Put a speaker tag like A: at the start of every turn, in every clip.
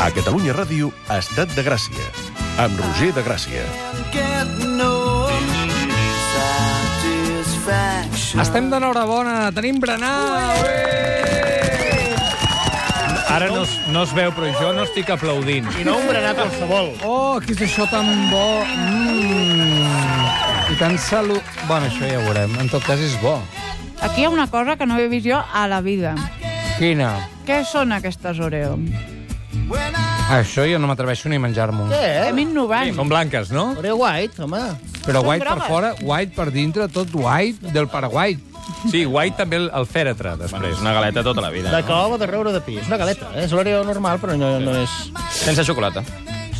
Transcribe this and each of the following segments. A: A Catalunya Ràdio, Estat de Gràcia, amb Roger de Gràcia.
B: Estem d'enhorabona, tenim eh! berenar!
C: Ara no, es- no es veu, però jo no estic aplaudint.
D: I no un berenar qualsevol.
B: Oh, què és això tan bo! Mm. I tan salu... Bueno, això ja ho veurem. En tot cas, és bo.
E: Aquí hi ha una cosa que no he vist jo a la vida.
B: Quina?
E: Què són aquestes Oreo?
B: Ah, Això jo no m'atreveixo ni a menjar-m'ho.
D: Què?
E: Hem innovat.
C: Són blanques, no?
D: Oreo White, home.
B: Però
E: Són
B: white per
E: grogues.
B: fora, white per dintre, tot white del Paraguai.
C: Sí, guai també el, el fèretre, després.
F: És una galeta tota la vida.
C: Ah.
D: De cova, de roure de pi. És una galeta. eh? És l'Oreo normal, però no, no és...
F: Sense xocolata.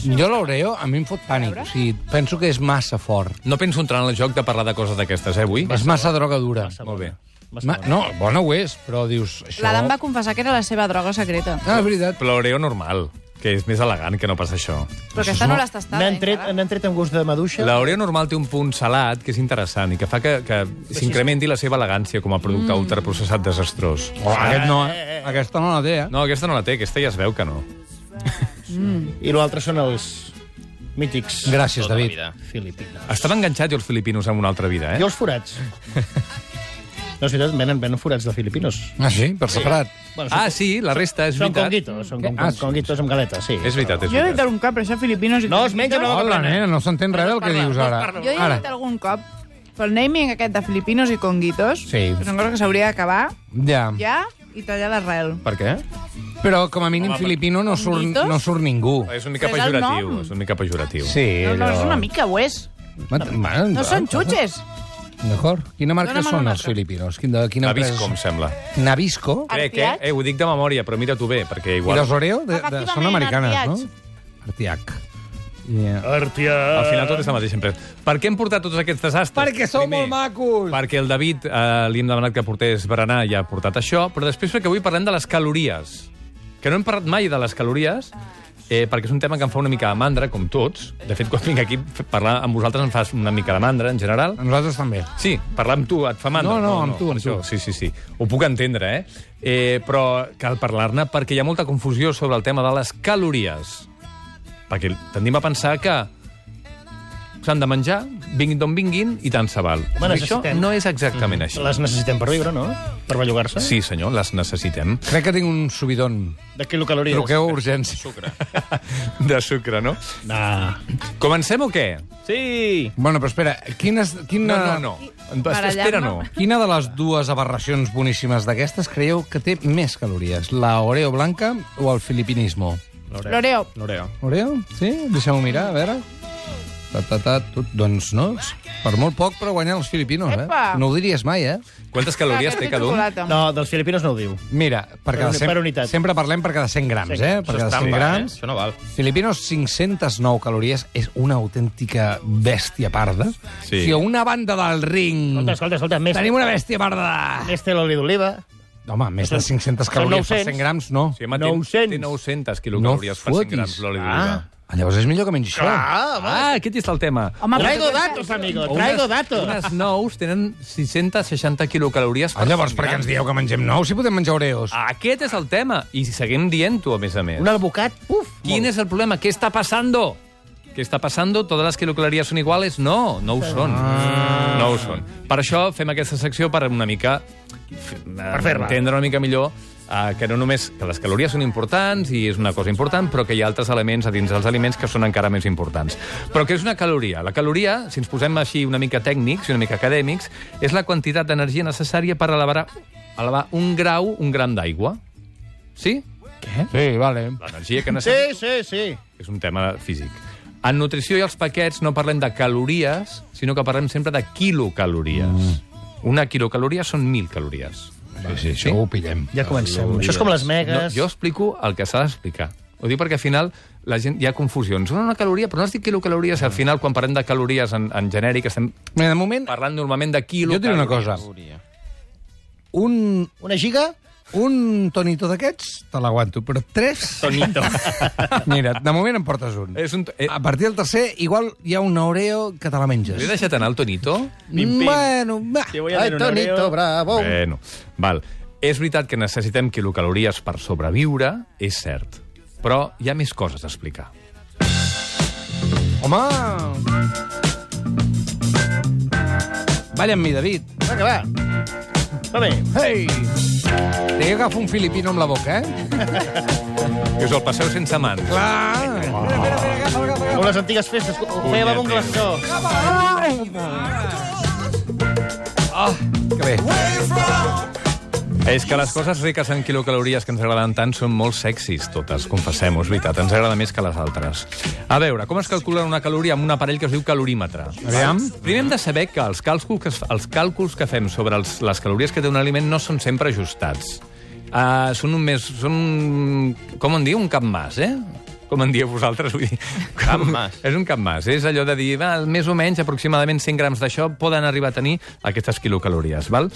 B: Jo l'Oreo a mi em fot pànic. O sigui, penso que és massa fort.
C: No penso entrar en el joc de parlar de coses d'aquestes, eh, avui?
B: és massa droga dura.
C: Molt bé.
D: massa
B: Ma no, bona ho és, però dius... Això...
E: L'Adam va confessar que era la seva droga secreta.
B: Ah, és veritat.
C: Però l'Oreo normal, que és més elegant que no passa això.
E: Però aquesta no l'has tastat,
D: N'han
E: eh?
D: tret,
E: encara.
D: n'han tret amb gust de maduixa.
C: L'Oreo normal té un punt salat que és interessant i que fa que, que s'incrementi la seva elegància com a producte mm. ultraprocessat desastrós.
B: Oh, aquest no, eh? Aquesta no la té, eh?
C: No, aquesta no la té, aquesta ja es veu que no.
D: I l'altre són els mítics
B: Gràcies,
F: Tota
B: David.
F: la vida.
D: filipines.
C: Estava enganxat jo als filipinos en una altra
D: I
C: vida, eh?
D: els forats. No, és veritat, venen, venen forats de filipinos.
B: Ah, sí? Per separat.
D: Bueno,
C: Ah, sí, la resta és
D: Són
C: veritat.
D: conguitos, són con,
B: Ah,
D: con,
B: sí.
D: conguitos amb galetes, sí.
C: És veritat, és
E: Jo he dit
C: veritat.
E: algun cop, però això filipinos... i
D: No, es menja amb la boca
B: Hola,
D: plena.
B: nena, no s'entén res del que dius ara.
E: Jo he
B: Ara.
E: dit algun cop, pel naming aquest de filipinos i conguitos,
B: Sí.
E: que són coses que s'hauria d'acabar
B: Ja.
E: ja i tallar l'arrel.
C: Per què?
B: Però com a mínim filipino no Ah, surt,
E: conguitos?
B: no surt ningú.
C: És una mica
E: Però és el
C: pejoratiu,
E: nom.
C: és una mica pejoratiu.
B: Sí,
E: No, no, és una mica, ho és. No són xutxes.
B: D'acord. Quina marca
E: Dóna-me
B: són
E: una
B: els
E: altra.
B: filipinos? Quin- De quina
C: Nabisco, em
B: empresa?
C: sembla.
B: Nabisco?
C: Crec, eh?
E: Artiach?
C: eh? Ho dic de memòria, però mira-t'ho bé, perquè
B: I
C: igual...
B: les Oreo? De, de, són
E: Efectivament,
B: americanes, no? Artiac. Yeah.
D: Hòstia.
C: Al final tot és la mateixa empresa. Per què hem portat tots aquests desastres?
B: Eh. Perquè són molt
C: Primer,
B: macos.
C: Perquè el David eh, li hem demanat que portés berenar i ha portat això, però després perquè avui parlem de les calories. Que no hem parlat mai de les calories, eh, perquè és un tema que em fa una mica de mandra, com tots. De fet, quan vinc aquí a parlar amb vosaltres em fas una mica de mandra, en general.
B: A nosaltres també.
C: Sí, parlar amb tu et fa mandra.
B: No, no, amb tu, amb
C: això,
B: tu.
C: Sí, sí, sí. Ho puc entendre, eh? eh però cal parlar-ne perquè hi ha molta confusió sobre el tema de les calories. Perquè tendim a pensar que s'han de menjar, vinguin d'on vinguin, i tant se val.
D: Bueno,
C: això
D: necessitem-
C: no és
B: Mm.
C: exactament així.
D: Les necessitem per viure, no? Per bellugar-se.
C: Sí, senyor, les necessitem.
B: Crec que tinc un subidon.
D: De quilocalories.
B: Truqueu a urgència.
F: Sucre.
C: De sucre, no?
D: Nah.
C: Comencem o què?
F: Sí!
B: Bueno, però espera, quines, quina...
C: No, no, no. Espera, no.
B: Quina de les dues aberracions boníssimes d'aquestes creieu que té més calories? La Oreo blanca o el filipinismo?
E: L'Oreo.
F: L'Oreo.
B: Oreo? Sí? Deixeu-ho mirar, a veure. Ta, ta, ta, tu, doncs no, per molt poc, però guanyen els filipinos, eh?
E: Epa!
B: No ho diries mai, eh?
C: Quantes calories té cada un?
E: Xocolata.
D: No, dels filipinos no ho diu.
B: Mira, per cada
D: uni-
B: 100,
D: per unitat.
B: sempre parlem per cada 100 grams,
D: Sí,
B: eh? Per cada 100 grams.
F: Això no val.
B: Filipinos, 509 calories, és una autèntica bèstia parda.
C: Sí.
B: O sigui, una banda del ring...
D: Escolta, escolta, escolta. Més,
B: Tenim una bèstia parda!
D: Més té l'oli d'oliva.
B: Home, més de 500
D: són
B: calories per
D: 900.
B: 100 grams, no.
C: Sí, home, té-
D: 900.
C: Té 900 quilocalories
B: No
C: per 100
B: fotis.
C: grams l'oli d'oliva.
B: Ah, llavors és millor que mengi això.
C: Ah, aquest és el tema.
E: Home, però
D: Traigo
E: tu pensa-
D: datos, amigo. Traigo datos.
C: Unes nous tenen 660 quilocalories per
B: Ah, llavors,
C: 100
B: per què ens
C: grams.
B: dieu que mengem nou si podem menjar oreos?
D: Ah.
C: Aquest és el tema, i seguim dient-ho, a més a més.
D: Un albocat. Uf.
C: Quin és el problema? Què està passando? Què està passando? Totes les quilocalories són iguales? No, no ho són. No ho són. Per això fem aquesta secció per una mica... Per
D: fer-la.
C: Entendre una mica millor eh, que no només que les calories són importants i és una cosa important, però que hi ha altres elements a dins dels aliments que són encara més importants. Però què és una caloria? La caloria, si ens posem així una mica tècnics i una mica acadèmics, és la quantitat d'energia necessària per elevar, elevar un grau, un gram d'aigua. Sí? Què?
B: Sí, vale.
C: L'energia que necessita
D: Sí, sí, sí.
C: és un tema físic. En nutrició i els paquets no parlem de calories, sinó que parlem sempre de quilocalories. Mm. Una quilocaloria són 1.000 calories.
B: Sí, sí, això ho pillem.
D: Ja comencem. Això és com les
C: No,
D: megas.
C: jo explico el que s'ha d'explicar. Ho dic perquè al final la gent, hi ha confusions. Una, una caloria, però no has dit quilocalories. Al final, quan parlem de calories en, en genèric, estem
B: Mira, de moment,
C: parlant normalment de
B: jo
C: quilocalories.
B: diré una cosa. Un,
D: Una giga?
B: un tonito d'aquests, te l'aguanto, però tres...
D: Tonito.
B: Mira, de moment en portes un.
C: És un... Eh,
B: A partir del tercer, igual hi ha un Oreo que te la menges.
C: L'he deixat anar el tonito?
B: Bueno, va.
D: Ai, Tonito, bravo.
C: Bueno, val. És veritat que necessitem quilocalories per sobreviure, és cert. Però hi ha més coses a explicar.
B: Home! Balla amb mi, David.
D: Va, que va. Va bé.
B: Hey! Té agafo un filipino amb la boca, eh?
C: Que us el passeu sense mans.
B: Clar! Espera, espera, espera, agafa, agafa, agafa.
D: Com les antigues festes. Ho feia amb un glaçó.
C: Que bé. És que les coses riques en quilocalories que ens agraden tant són molt sexis, totes, confessem-ho, és veritat. Ens agrada més que les altres. A veure, com es calcula una caloria amb un aparell que es diu calorímetre? Aviam. Doncs, Primer hem de saber que els càlculs que, es- els càlculs que fem sobre els, les calories que té un aliment no són sempre ajustats. Uh, són un més... Són, com en diu? Un cap mas, eh? Com en dieu vosaltres? Vull dir,
F: Cap mas.
C: És un cap mas. És allò de dir, va, més o menys, aproximadament 100 grams d'això poden arribar a tenir aquestes quilocalories, val?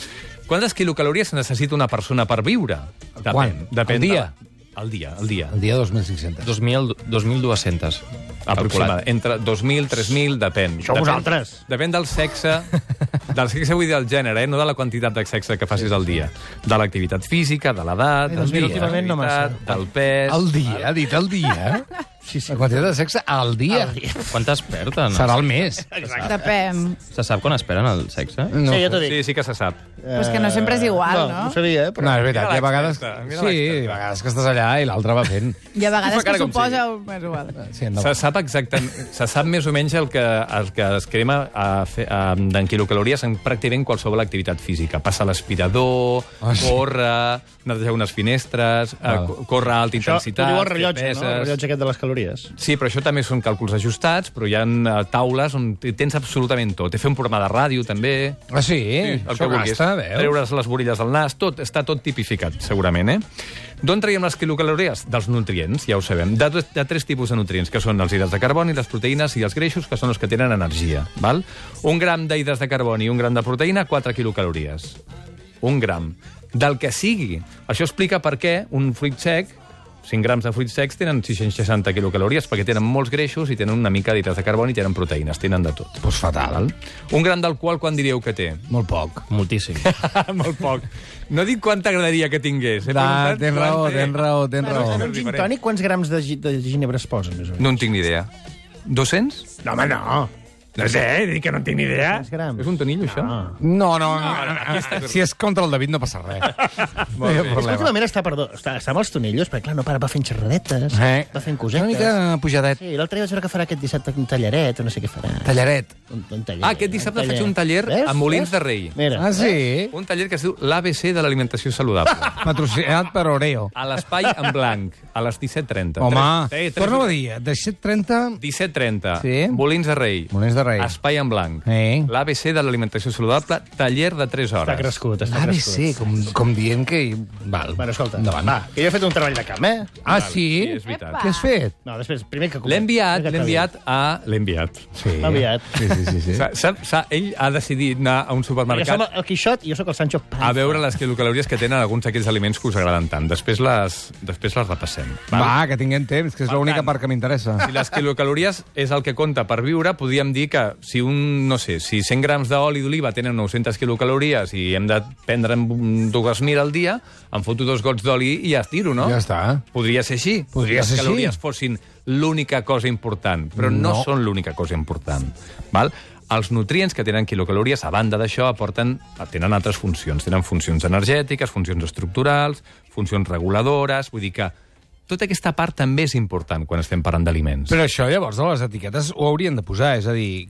C: Quantes quilocalories necessita una persona per viure? Depèn.
B: Quan?
C: Depèn
B: Al
C: de-
B: dia?
C: Al dia, al dia.
B: El dia 2.500.
F: 2.000 2.200.
C: Aproximadament.
F: Calculat.
C: Entre 2.000, 3.000, depèn.
D: Això
C: depèn,
D: vosaltres.
C: Depèn del sexe, del sexe vull dir del gènere, eh? no de la quantitat de sexe que facis al dia. De l'activitat física, de l'edat,
D: Eh,
C: del
D: doncs mira,
C: dia,
D: últimament no massa.
C: del pes...
B: El dia, ha dit el dia. Sí, sí. La quantitat de sexe al dia.
F: Quantes perden?
B: Serà el mes.
E: Depèn.
F: Se sap quan esperen el sexe?
B: No.
D: Sí, ja t'ho dic.
C: Sí, sí que se sap.
E: Però és que no sempre és igual,
D: No,
E: no?
D: ho sabia, eh?
B: No,
D: Però...
B: és veritat, hi ha
C: Mira
B: vegades...
C: l'extreta, mira
B: Sí,
C: l'extreta.
B: hi ha vegades que estàs allà i l'altre va fent.
E: Hi ha vegades que
C: cara com
E: suposa... És igual.
B: Sí,
C: No.
B: endavant.
C: Se sap exactament, se sap més o menys el que, el que es crema a fer, a, en quilocalories en pràcticament qualsevol activitat física. Passar l'aspirador,
B: Ah,
C: oh,
B: sí.
C: sí. córrer, netejar unes finestres, ah. córrer a alta
D: Això
C: intensitat...
D: ho diu el
C: fer
D: rellotge, no? El
C: peses.
D: rellotge aquest de les calories.
C: Sí, però això també són càlculs ajustats, però hi ha eh, taules on hi tens absolutament tot. Fer un programa de ràdio, també...
B: Ah, sí?
C: Sí, el
B: Això
C: que vulguis.
B: gasta, veus?
C: Treure's les borilles del nas, tot, està tot tipificat, segurament, eh? D'on traiem les quilocalories? Dels nutrients, ja ho sabem. De, dos- de tres tipus de nutrients, que són els hidrats de carboni, les proteïnes i els greixos, que són els que tenen energia. Val? Un gram d'hidrats de carboni i un gram de proteïna, 4 quilocalories. Un gram. Del que sigui. Això explica per què un fruit sec 5 grams de fruits secs tenen 660 quilocalories perquè tenen molts greixos i tenen una mica d'hidrats de carboni i tenen proteïnes, tenen de tot. Doncs
B: Pues fatal.
C: Un gram d'alcohol, quan diríeu que té?
B: Molt poc.
F: Moltíssim.
C: Ah, Molt poc. No dic quant t'agradaria que tingués. eh? He
B: Ah,
C: preguntat
B: tens
C: quant
B: raó,
C: té.
B: tens raó, tens raó.
D: En un gin tònic, quants grams de, gi- de ginebra es posen? Més o menys?
C: No en tinc ni idea. 200?
D: No, home, no.
C: No sé, he dit que no en tinc ni idea.
D: Quants grams?
C: És un tonillo, això?
D: Ah.
B: No, no, no. Si és contra el David no passa res. No hi ha
D: És que
B: problema.
D: últimament està, perdó, està, està amb els tonillos, perquè clar, no para, va fent xerradetes,
B: Eh?
D: va fent
B: Una
D: cosetes.
B: mica pujadet.
D: Sí, l'altre dia vaig veure que farà aquest dissabte un tallaret, o no sé què farà.
B: Tallaret.
D: Un, un taller,
C: Ah, aquest dissabte
D: taller.
C: faig un taller
D: Veus?
C: a
D: Veus?
C: Molins de Rei.
D: Mira,
B: Ah, sí?
C: Un taller que es diu l'ABC de l'alimentació saludable.
B: Patrocinat per Oreo.
C: A l'espai en blanc, a les 17.30.
B: Home,
C: Tres- tres-
B: torna a dir, de 7.30...
C: 17.30,
B: Sí.
C: Molins de Rei.
B: Molins de Rei.
C: Espai en blanc.
B: Sí.
C: L'ABC de l'alimentació saludable, taller de 3 hores.
D: està crescut,
C: Ah,
D: està crescut.
B: L'ABC, com, com dient que... Val.
D: Bueno, escolta,
B: Endavant.
D: va, que jo he fet un treball de camp, eh?
B: Ah, sí?
C: Sí, és veritat.
B: Què has fet?
D: No, després, primer que...
C: L'he enviat,
D: primer que acabi.
C: l'he enviat a... L'he enviat.
B: Sí.
D: L'ha enviat.
B: Sí, sí, sí. sí.
C: Sa, sa, sa, ell ha decidit anar a un
D: Perquè som
C: supermercat
D: el Quixot i jo sóc el Sancho Panza.
C: a veure les quilocalories que tenen alguns d'aquells aliments que us agraden tant. Després les, després les repassem. Val?
B: Va, que tinguem temps, que és l'única part que m'interessa.
C: Si les quilocalories és el que compta per viure, podríem dir que si un, no sé, si 100 grams d'oli d'oliva tenen 900 quilocalories i hem de prendre un- dues mil al dia, em foto dos gots d'oli i ja estiro, no?
B: Ja està.
C: Podria ser així.
B: Podria
C: si
B: ser
C: les
B: així.
C: calories fossin l'única cosa important, però no,
B: No.
C: no són l'única cosa important. Val? Els nutrients que tenen quilocalories, a banda d'això, aporten, tenen altres funcions. Tenen funcions energètiques, funcions estructurals, funcions reguladores... Vull dir que tota aquesta part també és important quan estem parlant d'aliments.
B: Però això llavors a les etiquetes ho haurien de posar, és a dir,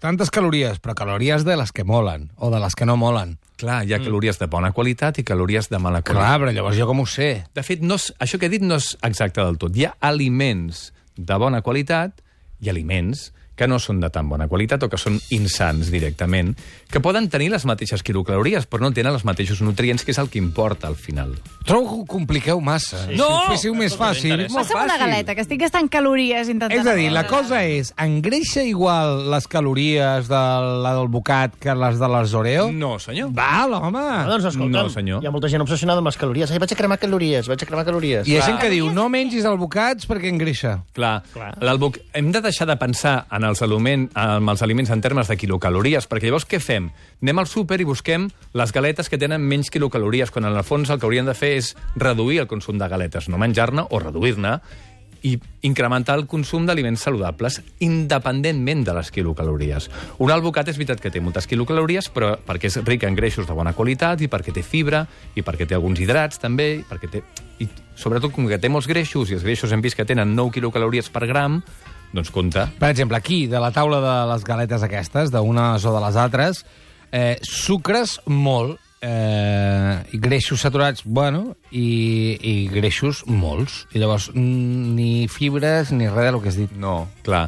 B: tantes calories, però calories de les que molen o de les que no molen.
C: Clar,
B: Mm.
C: hi ha calories de bona qualitat i calories de mala qualitat.
B: Clar, però llavors jo com ho sé?
C: De fet, no és, això que he dit no és exacte del tot. Hi ha aliments de bona qualitat i aliments que no són de tan bona qualitat o que són insans directament, que poden tenir les mateixes quilocalories, però no tenen els mateixos nutrients, que és el que importa al final.
B: Trobo que ho compliqueu massa. Sí, no! Si ho féssiu més fàcil, és molt
E: Passa'm
B: fàcil.
E: una galeta, que estic gastant calories intentant...
B: És a dir, la cosa és, engreixa igual les calories de la del bocat que les de les Oreo?
C: No, senyor.
B: Val,
D: Ah,
B: home!
D: doncs escolta'm,
C: No, senyor.
D: hi ha molta gent obsessionada amb les calories. Ai, vaig a cremar calories, vaig a cremar calories.
B: Hi ha gent que diu, no mengis albocats perquè engreixa.
C: Clar,
D: Clar.
C: L'albuc... hem de deixar de pensar en els, aliment, amb els aliments en termes de quilocalories, perquè llavors què fem? Anem al súper i busquem les galetes que tenen menys quilocalories, quan en el fons el que haurien de fer és reduir el consum de galetes, no menjar-ne o reduir-ne, i incrementar el consum d'aliments saludables independentment de les quilocalories. Un albocat és veritat que té moltes quilocalories, però perquè és ric en greixos de bona qualitat i perquè té fibra i perquè té alguns hidrats també, i perquè té... I sobretot com que té molts greixos, i els greixos hem vist que tenen 9 quilocalories per gram, doncs compte.
B: Per exemple, aquí, de la taula de les galetes aquestes, d'unes o de les altres, eh, sucres molt, eh, i greixos saturats, bueno, i, i greixos molts. I llavors, mm, ni fibres ni res del que has dit.
C: No, clar.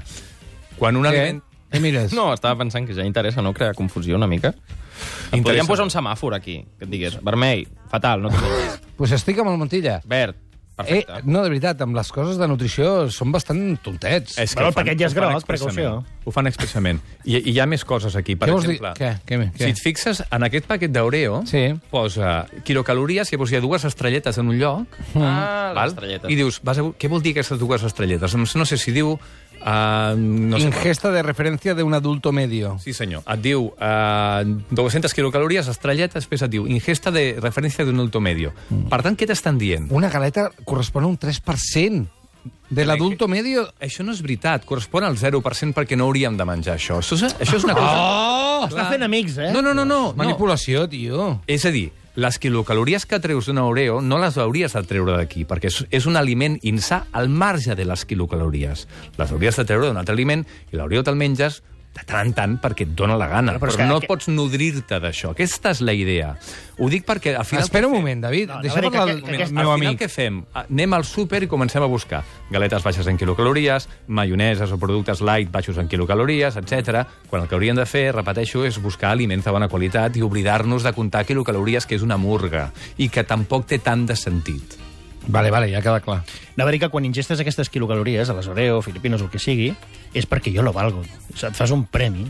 C: Quan un aliment...
B: Què mires?
F: No, estava pensant que ja interessa, no? Crear confusió una mica. Em
C: Interessa.
F: podríem posar un semàfor aquí, que et digués vermell, fatal, no t'ho vulguis.
B: Pues estic amb el Montilla.
D: Ah.
F: Verd, perfecte.
B: Eh, no, de veritat, amb les coses de nutrició són bastant tontets.
C: És
D: Però el
C: ho fan-
D: paquet ja és
C: ho fan
D: gros,
C: expressament.
D: precaució.
C: Ho fan expressament. I, I hi ha més coses aquí. Per
B: Què vols
C: exemple,
B: dir? Què? Què? Què?
C: si et fixes, en aquest paquet d'Oreo
B: Sí.
C: posa quilocalories, llavors hi ha dues estrelletes en un lloc,
B: Mm.
F: Ah,
C: val?
F: les estrelletes.
C: i dius, vas a... bu- què vol dir aquestes dues estrelletes? Doncs No sé si diu... Uh, no sé,
B: Ingesta de referència d'un adulto medio.
C: Sí, senyor. Et diu eh, 200 quilocalories, estrelleta, després et diu ingesta de referència d'un adulto medio.
B: Mm.
C: Per tant, què t'estan dient?
B: Una galeta correspon a un 3% de l'adulto medio.
C: Això no és veritat, correspon al 0% perquè no hauríem de menjar això. Això és, això és una cosa...
D: Oh, està fent amics, eh?
C: No, no, no, no. no.
B: Manipulació, tio.
C: És a dir, les quilocalories que treus d'un Oreo no les hauries de treure d'aquí, perquè és- és un aliment insà al marge de les quilocalories. Les hauries de treure d'un altre aliment i l'Oreo te'l menges de tant en tant perquè et dona la gana. Però,
D: Però és
C: però
D: que-
C: no
D: que-
C: pots nodrir-te d'això. Aquesta és la idea. Ho dic perquè al final...
B: Espera un moment, David.
D: No,
B: Deixa
D: a veure,
B: parlar
D: que-
B: el meu
D: que- que-
C: Al
D: Aquest
B: meu
C: final
B: amic.
C: què fem? Ah, Anem al súper i comencem a buscar galetes baixes en quilocalories, maioneses o productes light baixos en quilocalories, etc. Quan el que hauríem de fer, repeteixo, és buscar aliments de bona qualitat i oblidar-nos de comptar quilocalories, que és una murga i que tampoc té tant de sentit.
B: Vale, vale, ja queda clar.
D: Anava a dir que quan ingestes aquestes quilocalories, a les Oreo, Filipinos, o el que sigui, és perquè jo lo valgo. O sigui, et fas un premi.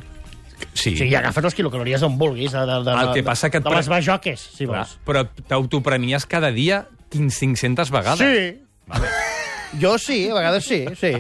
C: Sí.
D: O sigui, agafes les quilocalories d'on vulguis, eh, de, de, de,
C: El que passa que et
D: de les
C: pre- Doncs,
D: bajoques, si
C: Clar,
D: vols.
C: però t'autopremies cada dia 500 vegades.
D: Sí. Jo sí, a vegades sí, sí.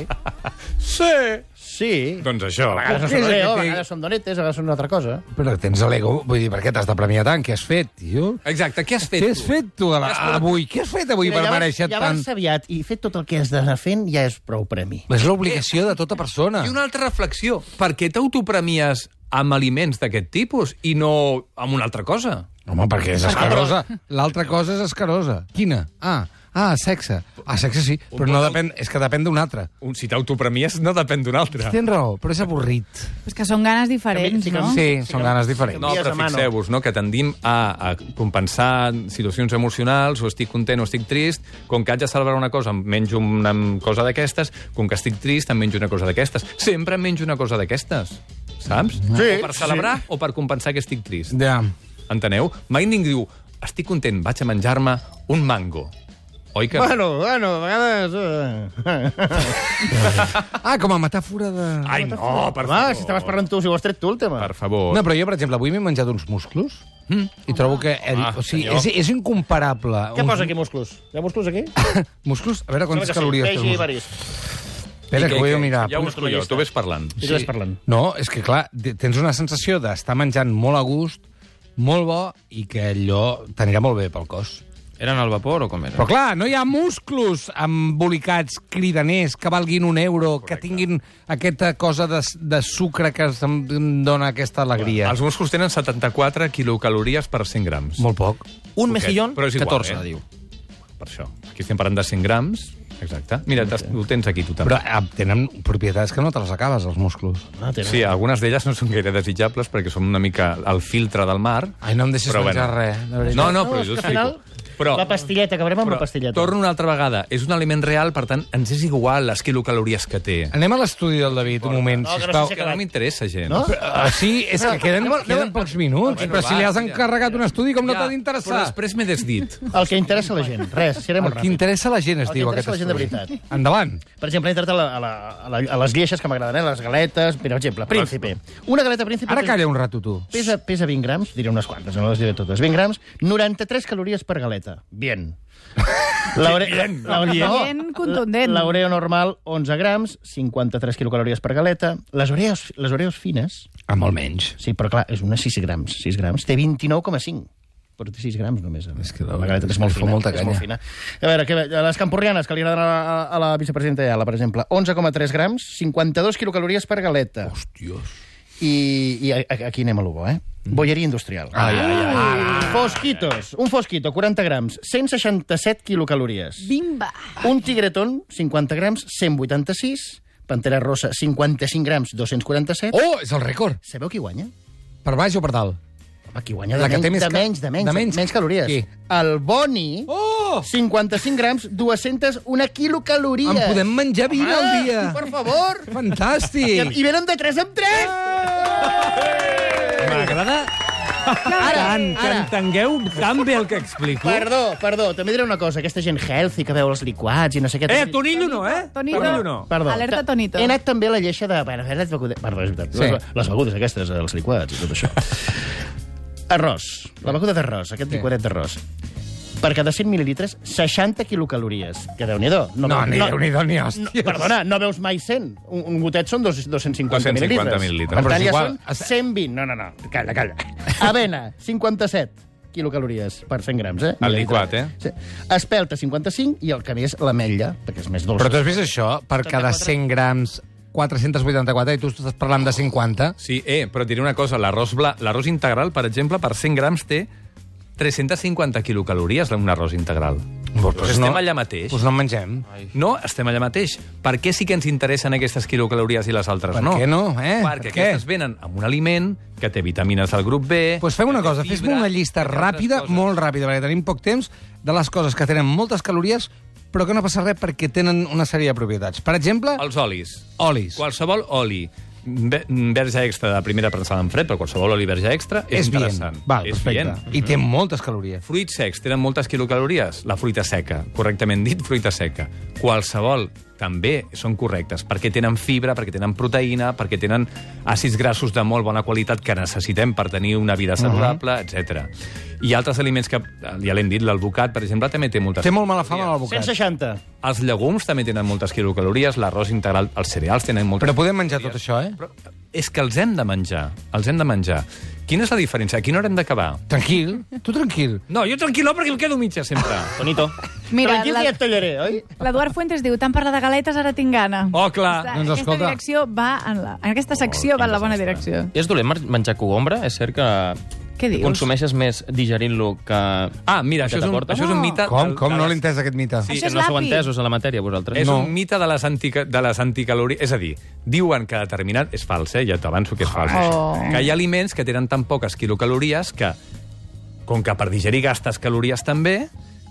C: Sí.
D: Sí.
C: Doncs això.
D: A vegades
B: Què
D: són
B: és
D: Oreo,
B: aquest
D: a
B: que-
D: vegades són donetes, a vegades són una altra cosa.
B: Però tens l'ego. Vull dir, per què t'has de premiar tant? Què has fet, tio?
C: Exacte, què has fet
B: Què has
C: tu?
B: fet, tu, a la,
C: Has posat-
B: avui? Què has fet avui per mereixer tant?
D: Llavors aviat i fet tot el que has d'anar fent ja és prou premi.
B: És l'obligació de tota persona.
C: I una altra reflexió. Per què t'autopremies amb aliments d'aquest tipus i no amb una altra cosa?
B: Home, perquè és escarosa. L'altra cosa és escarosa. Quina? Ah, ah, sexe. Ah, sexe sí, però no depèn... És que depèn d'un altre.
C: Un, si t'autopremies no depèn d'un altre.
B: Tens raó, però és avorrit.
E: És que són ganes diferents,
D: També-
E: no?
B: Sí, són ganes diferents.
C: No,
D: Dies
C: però
D: a mano.
C: fixeu-vos, no?, que tendim a, a compensar situacions emocionals, o estic content o estic trist, com que haig de celebrar una cosa, em menjo una cosa d'aquestes, com que estic trist, em menjo una cosa d'aquestes. Sempre em menjo una cosa d'aquestes, saps?
D: Sí,
C: o per celebrar sí. o per compensar que estic trist.
B: Ja.
C: Enteneu? Mai ningú diu, estic content, vaig a menjar-me un mango. Oi que...
D: Bueno, bueno, a vegades... eh.
B: Ah, com a metàfora de...
C: Ai, no, per
D: Va,
C: favor.
D: si estaves parlant tu, si ho has tret tu, el tema.
C: Per favor.
B: No, però jo, per exemple, avui m'he menjat uns musclos i trobo que... El, o sigui, és, és incomparable.
D: Què
B: Uns
D: posa aquí, musclos? Hi ha musclos aquí?
B: Musclos? A veure quantes calories té el
D: Peix i
B: musclo.
D: varis.
B: Espera, que ho he de mirar.
C: Ja ho busco jo, tu ves parlant.
D: I tu vas parlant.
B: No, és que clar, te- tens una sensació d'estar menjant molt a gust, molt bo, i que allò t'anirà molt bé pel cos.
F: Eren al vapor o com era?
B: Però clar, no hi ha musclos embolicats, cridaners, que valguin un euro, que tinguin aquesta cosa de, de sucre que em em dona aquesta alegria.
C: Els musclos tenen 74 quilocalories per 100 grams.
B: Molt poc.
F: Un
C: Poquet,
F: mejillón,
C: però és igual,
F: 14,
C: eh?
F: diu.
C: Per això. Aquí estem parlant de 100 grams. Exacte. Mira, t'has- ho tens aquí, tu també.
B: Però eh, tenen propietats que no te les acabes, els musclos.
D: Ah, tenen.
C: Sí, algunes d'elles no són gaire desitjables perquè són una mica al filtre del mar.
B: Ai, no em deixis
C: Però
B: menjar
C: bueno.
B: res, de veritat.
C: No, no,
D: No,
C: però
D: és
C: jo
D: que
C: us
D: al final,
C: explico. Però,
D: La pastilleta, acabarem amb
C: però
D: la pastilleta.
C: torno una altra vegada. És un aliment real, per tant, ens és igual les quilocalories que té.
B: Anem a l'estudi del David, un moment,
D: No, que no
B: sisplau.
D: sé si
C: Que no m'interessa, gent.
D: No?
B: Ah, sí, és que queden, queden pocs minuts, però si li has
C: va,
B: encarregat un estudi, com no t'ha
C: Però
B: d'interessar?
C: després m'he desdit.
D: El que interessa a la gent. Res, serem
B: El
D: molt
B: que
D: ràpids.
B: interessa a la gent es
D: El que
B: diu aquest
D: interessa a la gent de
B: estudi. Endavant.
D: Per exemple, he entrat a, la, a, la, a, la, a les lleixes que m'agraden, eh? les galetes, per exemple, Príncipe. Una galeta Príncipe...
B: Ara
D: pesa-
B: calla un rato, tu.
D: Pesa, pesa 20 grams, diré unes quantes, no les diré totes. 20 grams, 93 calories per galeta. 40. Bien. L'oreo bien,
E: Bien contundent.
D: L'oreo normal, 11 grams, 53 quilocalories per galeta. Les oreos, les oreos fines,
B: Ah, molt menys.
D: sí, però clar, és una 6 grams, 6 grams. Té 29,5 però té 6 grams només.
B: És que la-
D: la galeta és
B: és
D: molt
B: que fa
D: fina.
B: molta
D: és molt
B: canya.
D: fina. A veure, què, ve- les campurrianes, que li agraden a, la- a la vicepresidenta Ayala, per exemple, 11,3 grams, 52 quilocalories per galeta.
B: Hòsties.
D: I, i a- a- aquí anem a l'Ubo, eh? Bolleria industrial. Ai, ai, ai. Fosquitos. Un fosquito, 40 grams, 167 quilocalories.
E: Bimba!
D: Un tigretón, 50 grams, 186. Pantera rossa, 55 grams, 247. Oh.
B: Oh, és el rècord.
D: Sabeu qui guanya?
B: Per baix o per dalt?
D: Home, qui guanya de,
B: La que
D: menys,
B: té més
D: de,
B: ca-
D: menys, de menys, de menys, calories.
B: Qui?
D: El Boni,
B: Oh!
D: 55 grams, 201 quilocalories.
B: En podem menjar 20 al
D: Ah,
B: dia.
D: Per favor! I,
B: Fantàstic!
D: I venen de 3 en 3!
B: Ah!
G: M'agrada
D: Ara,
G: tant que
D: ara.
G: entengueu tan bé el que explico.
D: Perdó, perdó, també diré una cosa. Aquesta gent healthy que veu els liquats i no sé què...
G: Eh, Tonillo no, eh?
E: Tonito.
G: Tonillo no.
D: Perdó.
E: Alerta, Tonito.
D: He anat també a la lleixa de... Bueno, a veure, les begudes... Perdó, és veritat.
B: Sí.
D: Les, les begudes aquestes, els liquats i tot això. arròs. La beguda d'arròs, aquest liquadet d'arròs. Per cada 100 mil·lilitres, 60 quilocalories. Que Déu-n'hi-do.
B: No, ni Déu-n'hi-do ni hòsties.
D: Perdona, no veus mai 100. Un, un gotet són dos, 250 mil·lilitres.
C: 250 mil·lilitres.
D: Per
B: Però
D: tant,
B: és
D: ja
B: igual,
D: són 120. No, no, no. Calla, calla. Avena, 57 quilocalories per 100 grams, eh?
C: El liquat, eh?
D: Sí. Espelta, 55, i el que més, l'ametlla, perquè és més dolç.
B: Però tu has vist això? Per cada 100 grams, 484, i tu estàs parlant de 50?
C: Sí, eh, però et diré una cosa, l'arròs bla... l'arròs integral, per exemple, per 100 grams té 350 quilocalories un arròs integral.
B: Doncs
C: Però estem allà mateix.
B: Doncs no en mengem.
C: No, estem allà mateix. Per què sí que ens interessen aquestes quilocalories i les altres
B: Per
C: no?
B: què no, eh?
C: Perquè
B: Per què?
C: aquestes venen amb un aliment que té vitamines del grup B...
B: Doncs pues fem una
C: que té
B: cosa,
C: fibra,
B: fes-me una llista
C: que té altres
B: ràpida,
C: coses.
B: molt ràpida, perquè tenim poc temps, de les coses que tenen moltes calories, però que no passa res perquè tenen una sèrie de propietats. Per exemple,
C: Els olis.
B: olis.
C: Qualsevol oli ve- verge extra de primera prensada en fred, però qualsevol oli verge extra és,
B: És bien.
C: interessant.
B: Val,
C: és
B: perfecte.
C: bien.
B: I té moltes calories.
C: Fruits secs tenen moltes quilocalories? La fruita seca, correctament dit, fruita seca. Qualsevol també són correctes, perquè tenen fibra, perquè tenen proteïna, perquè tenen àcids grassos de molt bona qualitat que necessitem per tenir una vida saludable, uh -huh. etc. I altres aliments que, ja l'hem dit, l'albocat, per exemple, també té moltes
B: Té molt mala fama l'alvocat.
D: 160.
C: Els llegums també tenen moltes quilocalories, l'arròs integral, els cereals tenen moltes
B: Però podem menjar tot això, eh?
C: Però és que els hem de menjar, els hem de menjar. Quina és la diferència? A quina hora hem d'acabar?
B: Tranquil, tu tranquil.
C: No, jo tranquil·lo perquè em quedo mitja sempre.
F: Bonito.
E: Mira,
D: Tranquil,
E: la-
D: que ja et tallaré, oi?
E: L'Eduard Fuentes diu, tant parla de galetes, ara tinc gana.
C: Oh, clar.
E: Està-
B: Doncs
E: aquesta
B: escolta. Oh,
E: direcció va en la... En aquesta secció va en la bona direcció.
F: És dolent mar- menjar cogombra? És cert que
E: Què dius?
F: consumeixes més digerint-lo que...
C: Ah, mira, això és un,
F: T'acorda?
C: això és un
E: No.
C: mite...
B: Com,
C: del-
B: com?
C: de
B: No
C: les-
B: l'he entès, aquest mite.
F: Sí,
E: Això
F: que
E: és
F: no sou
E: l'api.
F: entesos a la matèria, vosaltres.
C: És
B: No.
C: un mite de les, anti, de les anticalories. És a dir, diuen que determinat... És fals, eh? Ja t'avanço que és fals.
E: Oh.
C: Que hi ha aliments que tenen tan poques quilocalories que, com que per digerir gastes calories també,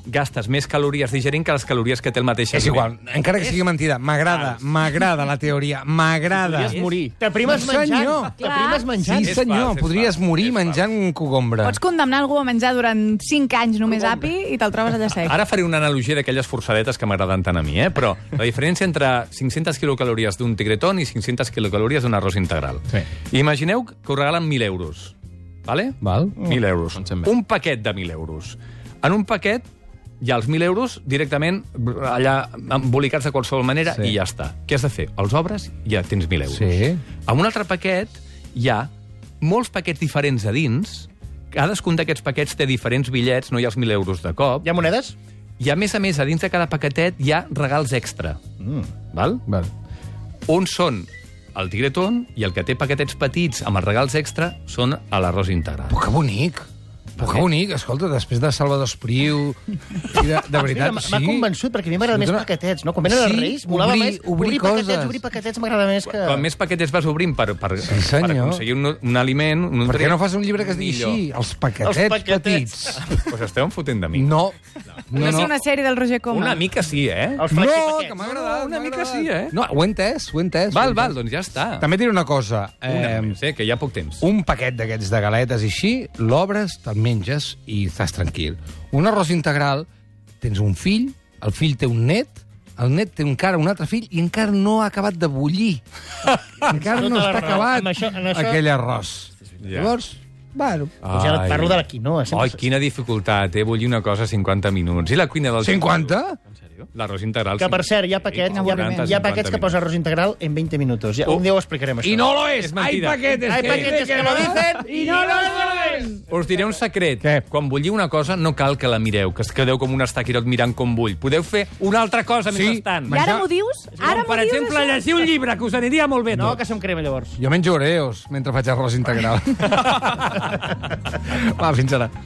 C: gastes més calories digerint que les calories que té el mateix
B: És igual,
C: aliment.
B: encara que sigui mentida, m'agrada, m'agrada la teoria, m'agrada.
F: Podries morir.
D: T'aprimes
B: No,
D: menjant.
B: senyor.
D: T'aprimes menjant.
B: Sí,
C: És
B: senyor,
C: fals, és
B: podries
C: fals,
B: morir
C: és fals.
B: menjant un cogombra.
E: Pots condemnar algú a menjar durant 5 anys només api i te'l trobes allà
B: Ah,
E: sec.
C: Ara faré una analogia d'aquelles forçadetes que m'agraden tant a mi, eh? però la diferència entre 500 quilocalories d'un tigretón i 500 quilocalories d'un arròs integral.
B: Sí.
C: Imagineu que us regalen 1.000 euros, vale?
B: Val? Mm.
C: 1.000 euros.
F: Doncs en bé.
C: Un paquet de 1.000 euros. En un paquet hi ha els 1.000 euros directament br- allà embolicats de qualsevol manera
B: Sí.
C: sí. i ja està. Què has de fer? Els obres i ja tens 1.000 euros.
B: Sí.
C: En un altre paquet hi ha molts paquets diferents a dins, cadascun d'aquests paquets té diferents bitllets, no hi ha els 1.000 euros de cop.
D: Hi ha monedes?
C: I a més a més, a dins de cada paquetet hi ha regals extra. Mm. Val?
B: Val.
C: On són el tigretón i el que té paquetets petits amb els regals extra són a l'arròs integral.
B: Però que bonic. Però que bonic, escolta, després de Salvador Espriu... I de, de
D: Mira,
B: veritat,
D: m'ha m'ha convençut, perquè a mi m'agraden més
B: Escolta,
D: paquetets, no? Quan venen els
B: sí,
D: Reis, volava
B: obrir-
D: més
B: obrir
D: paquetets,
B: coses.
D: obrir paquetets m'agrada més que...
C: Com més paquetets vas obrint per, per,
B: Sí,
C: per
B: senyor.
C: aconseguir un, un aliment... Un
B: Per què
C: nutrient,
B: no fas un llibre que es digui
C: millor.
B: així? Els paquetets,
D: Els paquetets.
B: petits.
C: Pues esteu enfotent de mi.
B: No. No,
E: No,
B: no.
E: és una sèrie del Roger Coma.
C: Una mica sí, eh?
D: Els
B: No,
D: flexipaquets.
B: que m'ha agradat.
C: Una
B: m'ha
C: mica
B: agradat.
C: sí, eh?
B: No, ho he entès, ho he entès. ho
C: Val,
B: he
C: val,
B: entès.
C: doncs ja està.
B: També et diré una cosa.
C: Una
B: Eh,
C: més, eh? Que hi ha poc temps.
B: un paquet d'aquests de galetes i així, l'obres, te'l menges i estàs tranquil. Un arròs integral, tens un fill, el fill té un net, el net té encara un altre fill i encara no ha acabat de bullir. encara no
D: Tota la
B: està
D: raó.
B: acabat
D: Amb això- en això-
B: aquell arròs.
C: Ja.
B: Llavors, Bueno,
D: Doncs ja
C: Ai.
D: parlo de la quinoa.
C: Ai, quina dificultat, eh? Bullir una cosa 50 minuts. I la cuina del...
B: 50?
C: L'arròs integral.
D: Que, per cert, hi ha paquets, hi ha,
C: 40,
D: hi ha paquets
C: 50
D: que posa arròs integral en 20 minuts. Ja, un dia ho explicarem, això.
B: I no lo es.
C: És
B: Hay
C: mentida.
B: paquetes.
D: Hay
B: que
D: paquetes
B: dicen
D: que lo dicen
B: y no lo es.
C: Us diré un secret. Què? Quan bulliu una cosa, no cal que la mireu, que es quedeu com un estaquirot mirant com bull. Podeu fer una altra cosa sí. mentrestant.
H: I ara m'ho dius? Ara
G: Per
H: m'ho dius,
G: exemple,
H: això?
G: llegir un llibre, que us aniria molt bé.
D: No,
G: tot.
D: que se'm crema, llavors.
B: Jo menjo oreos mentre faig arròs integral. Va, fins ara.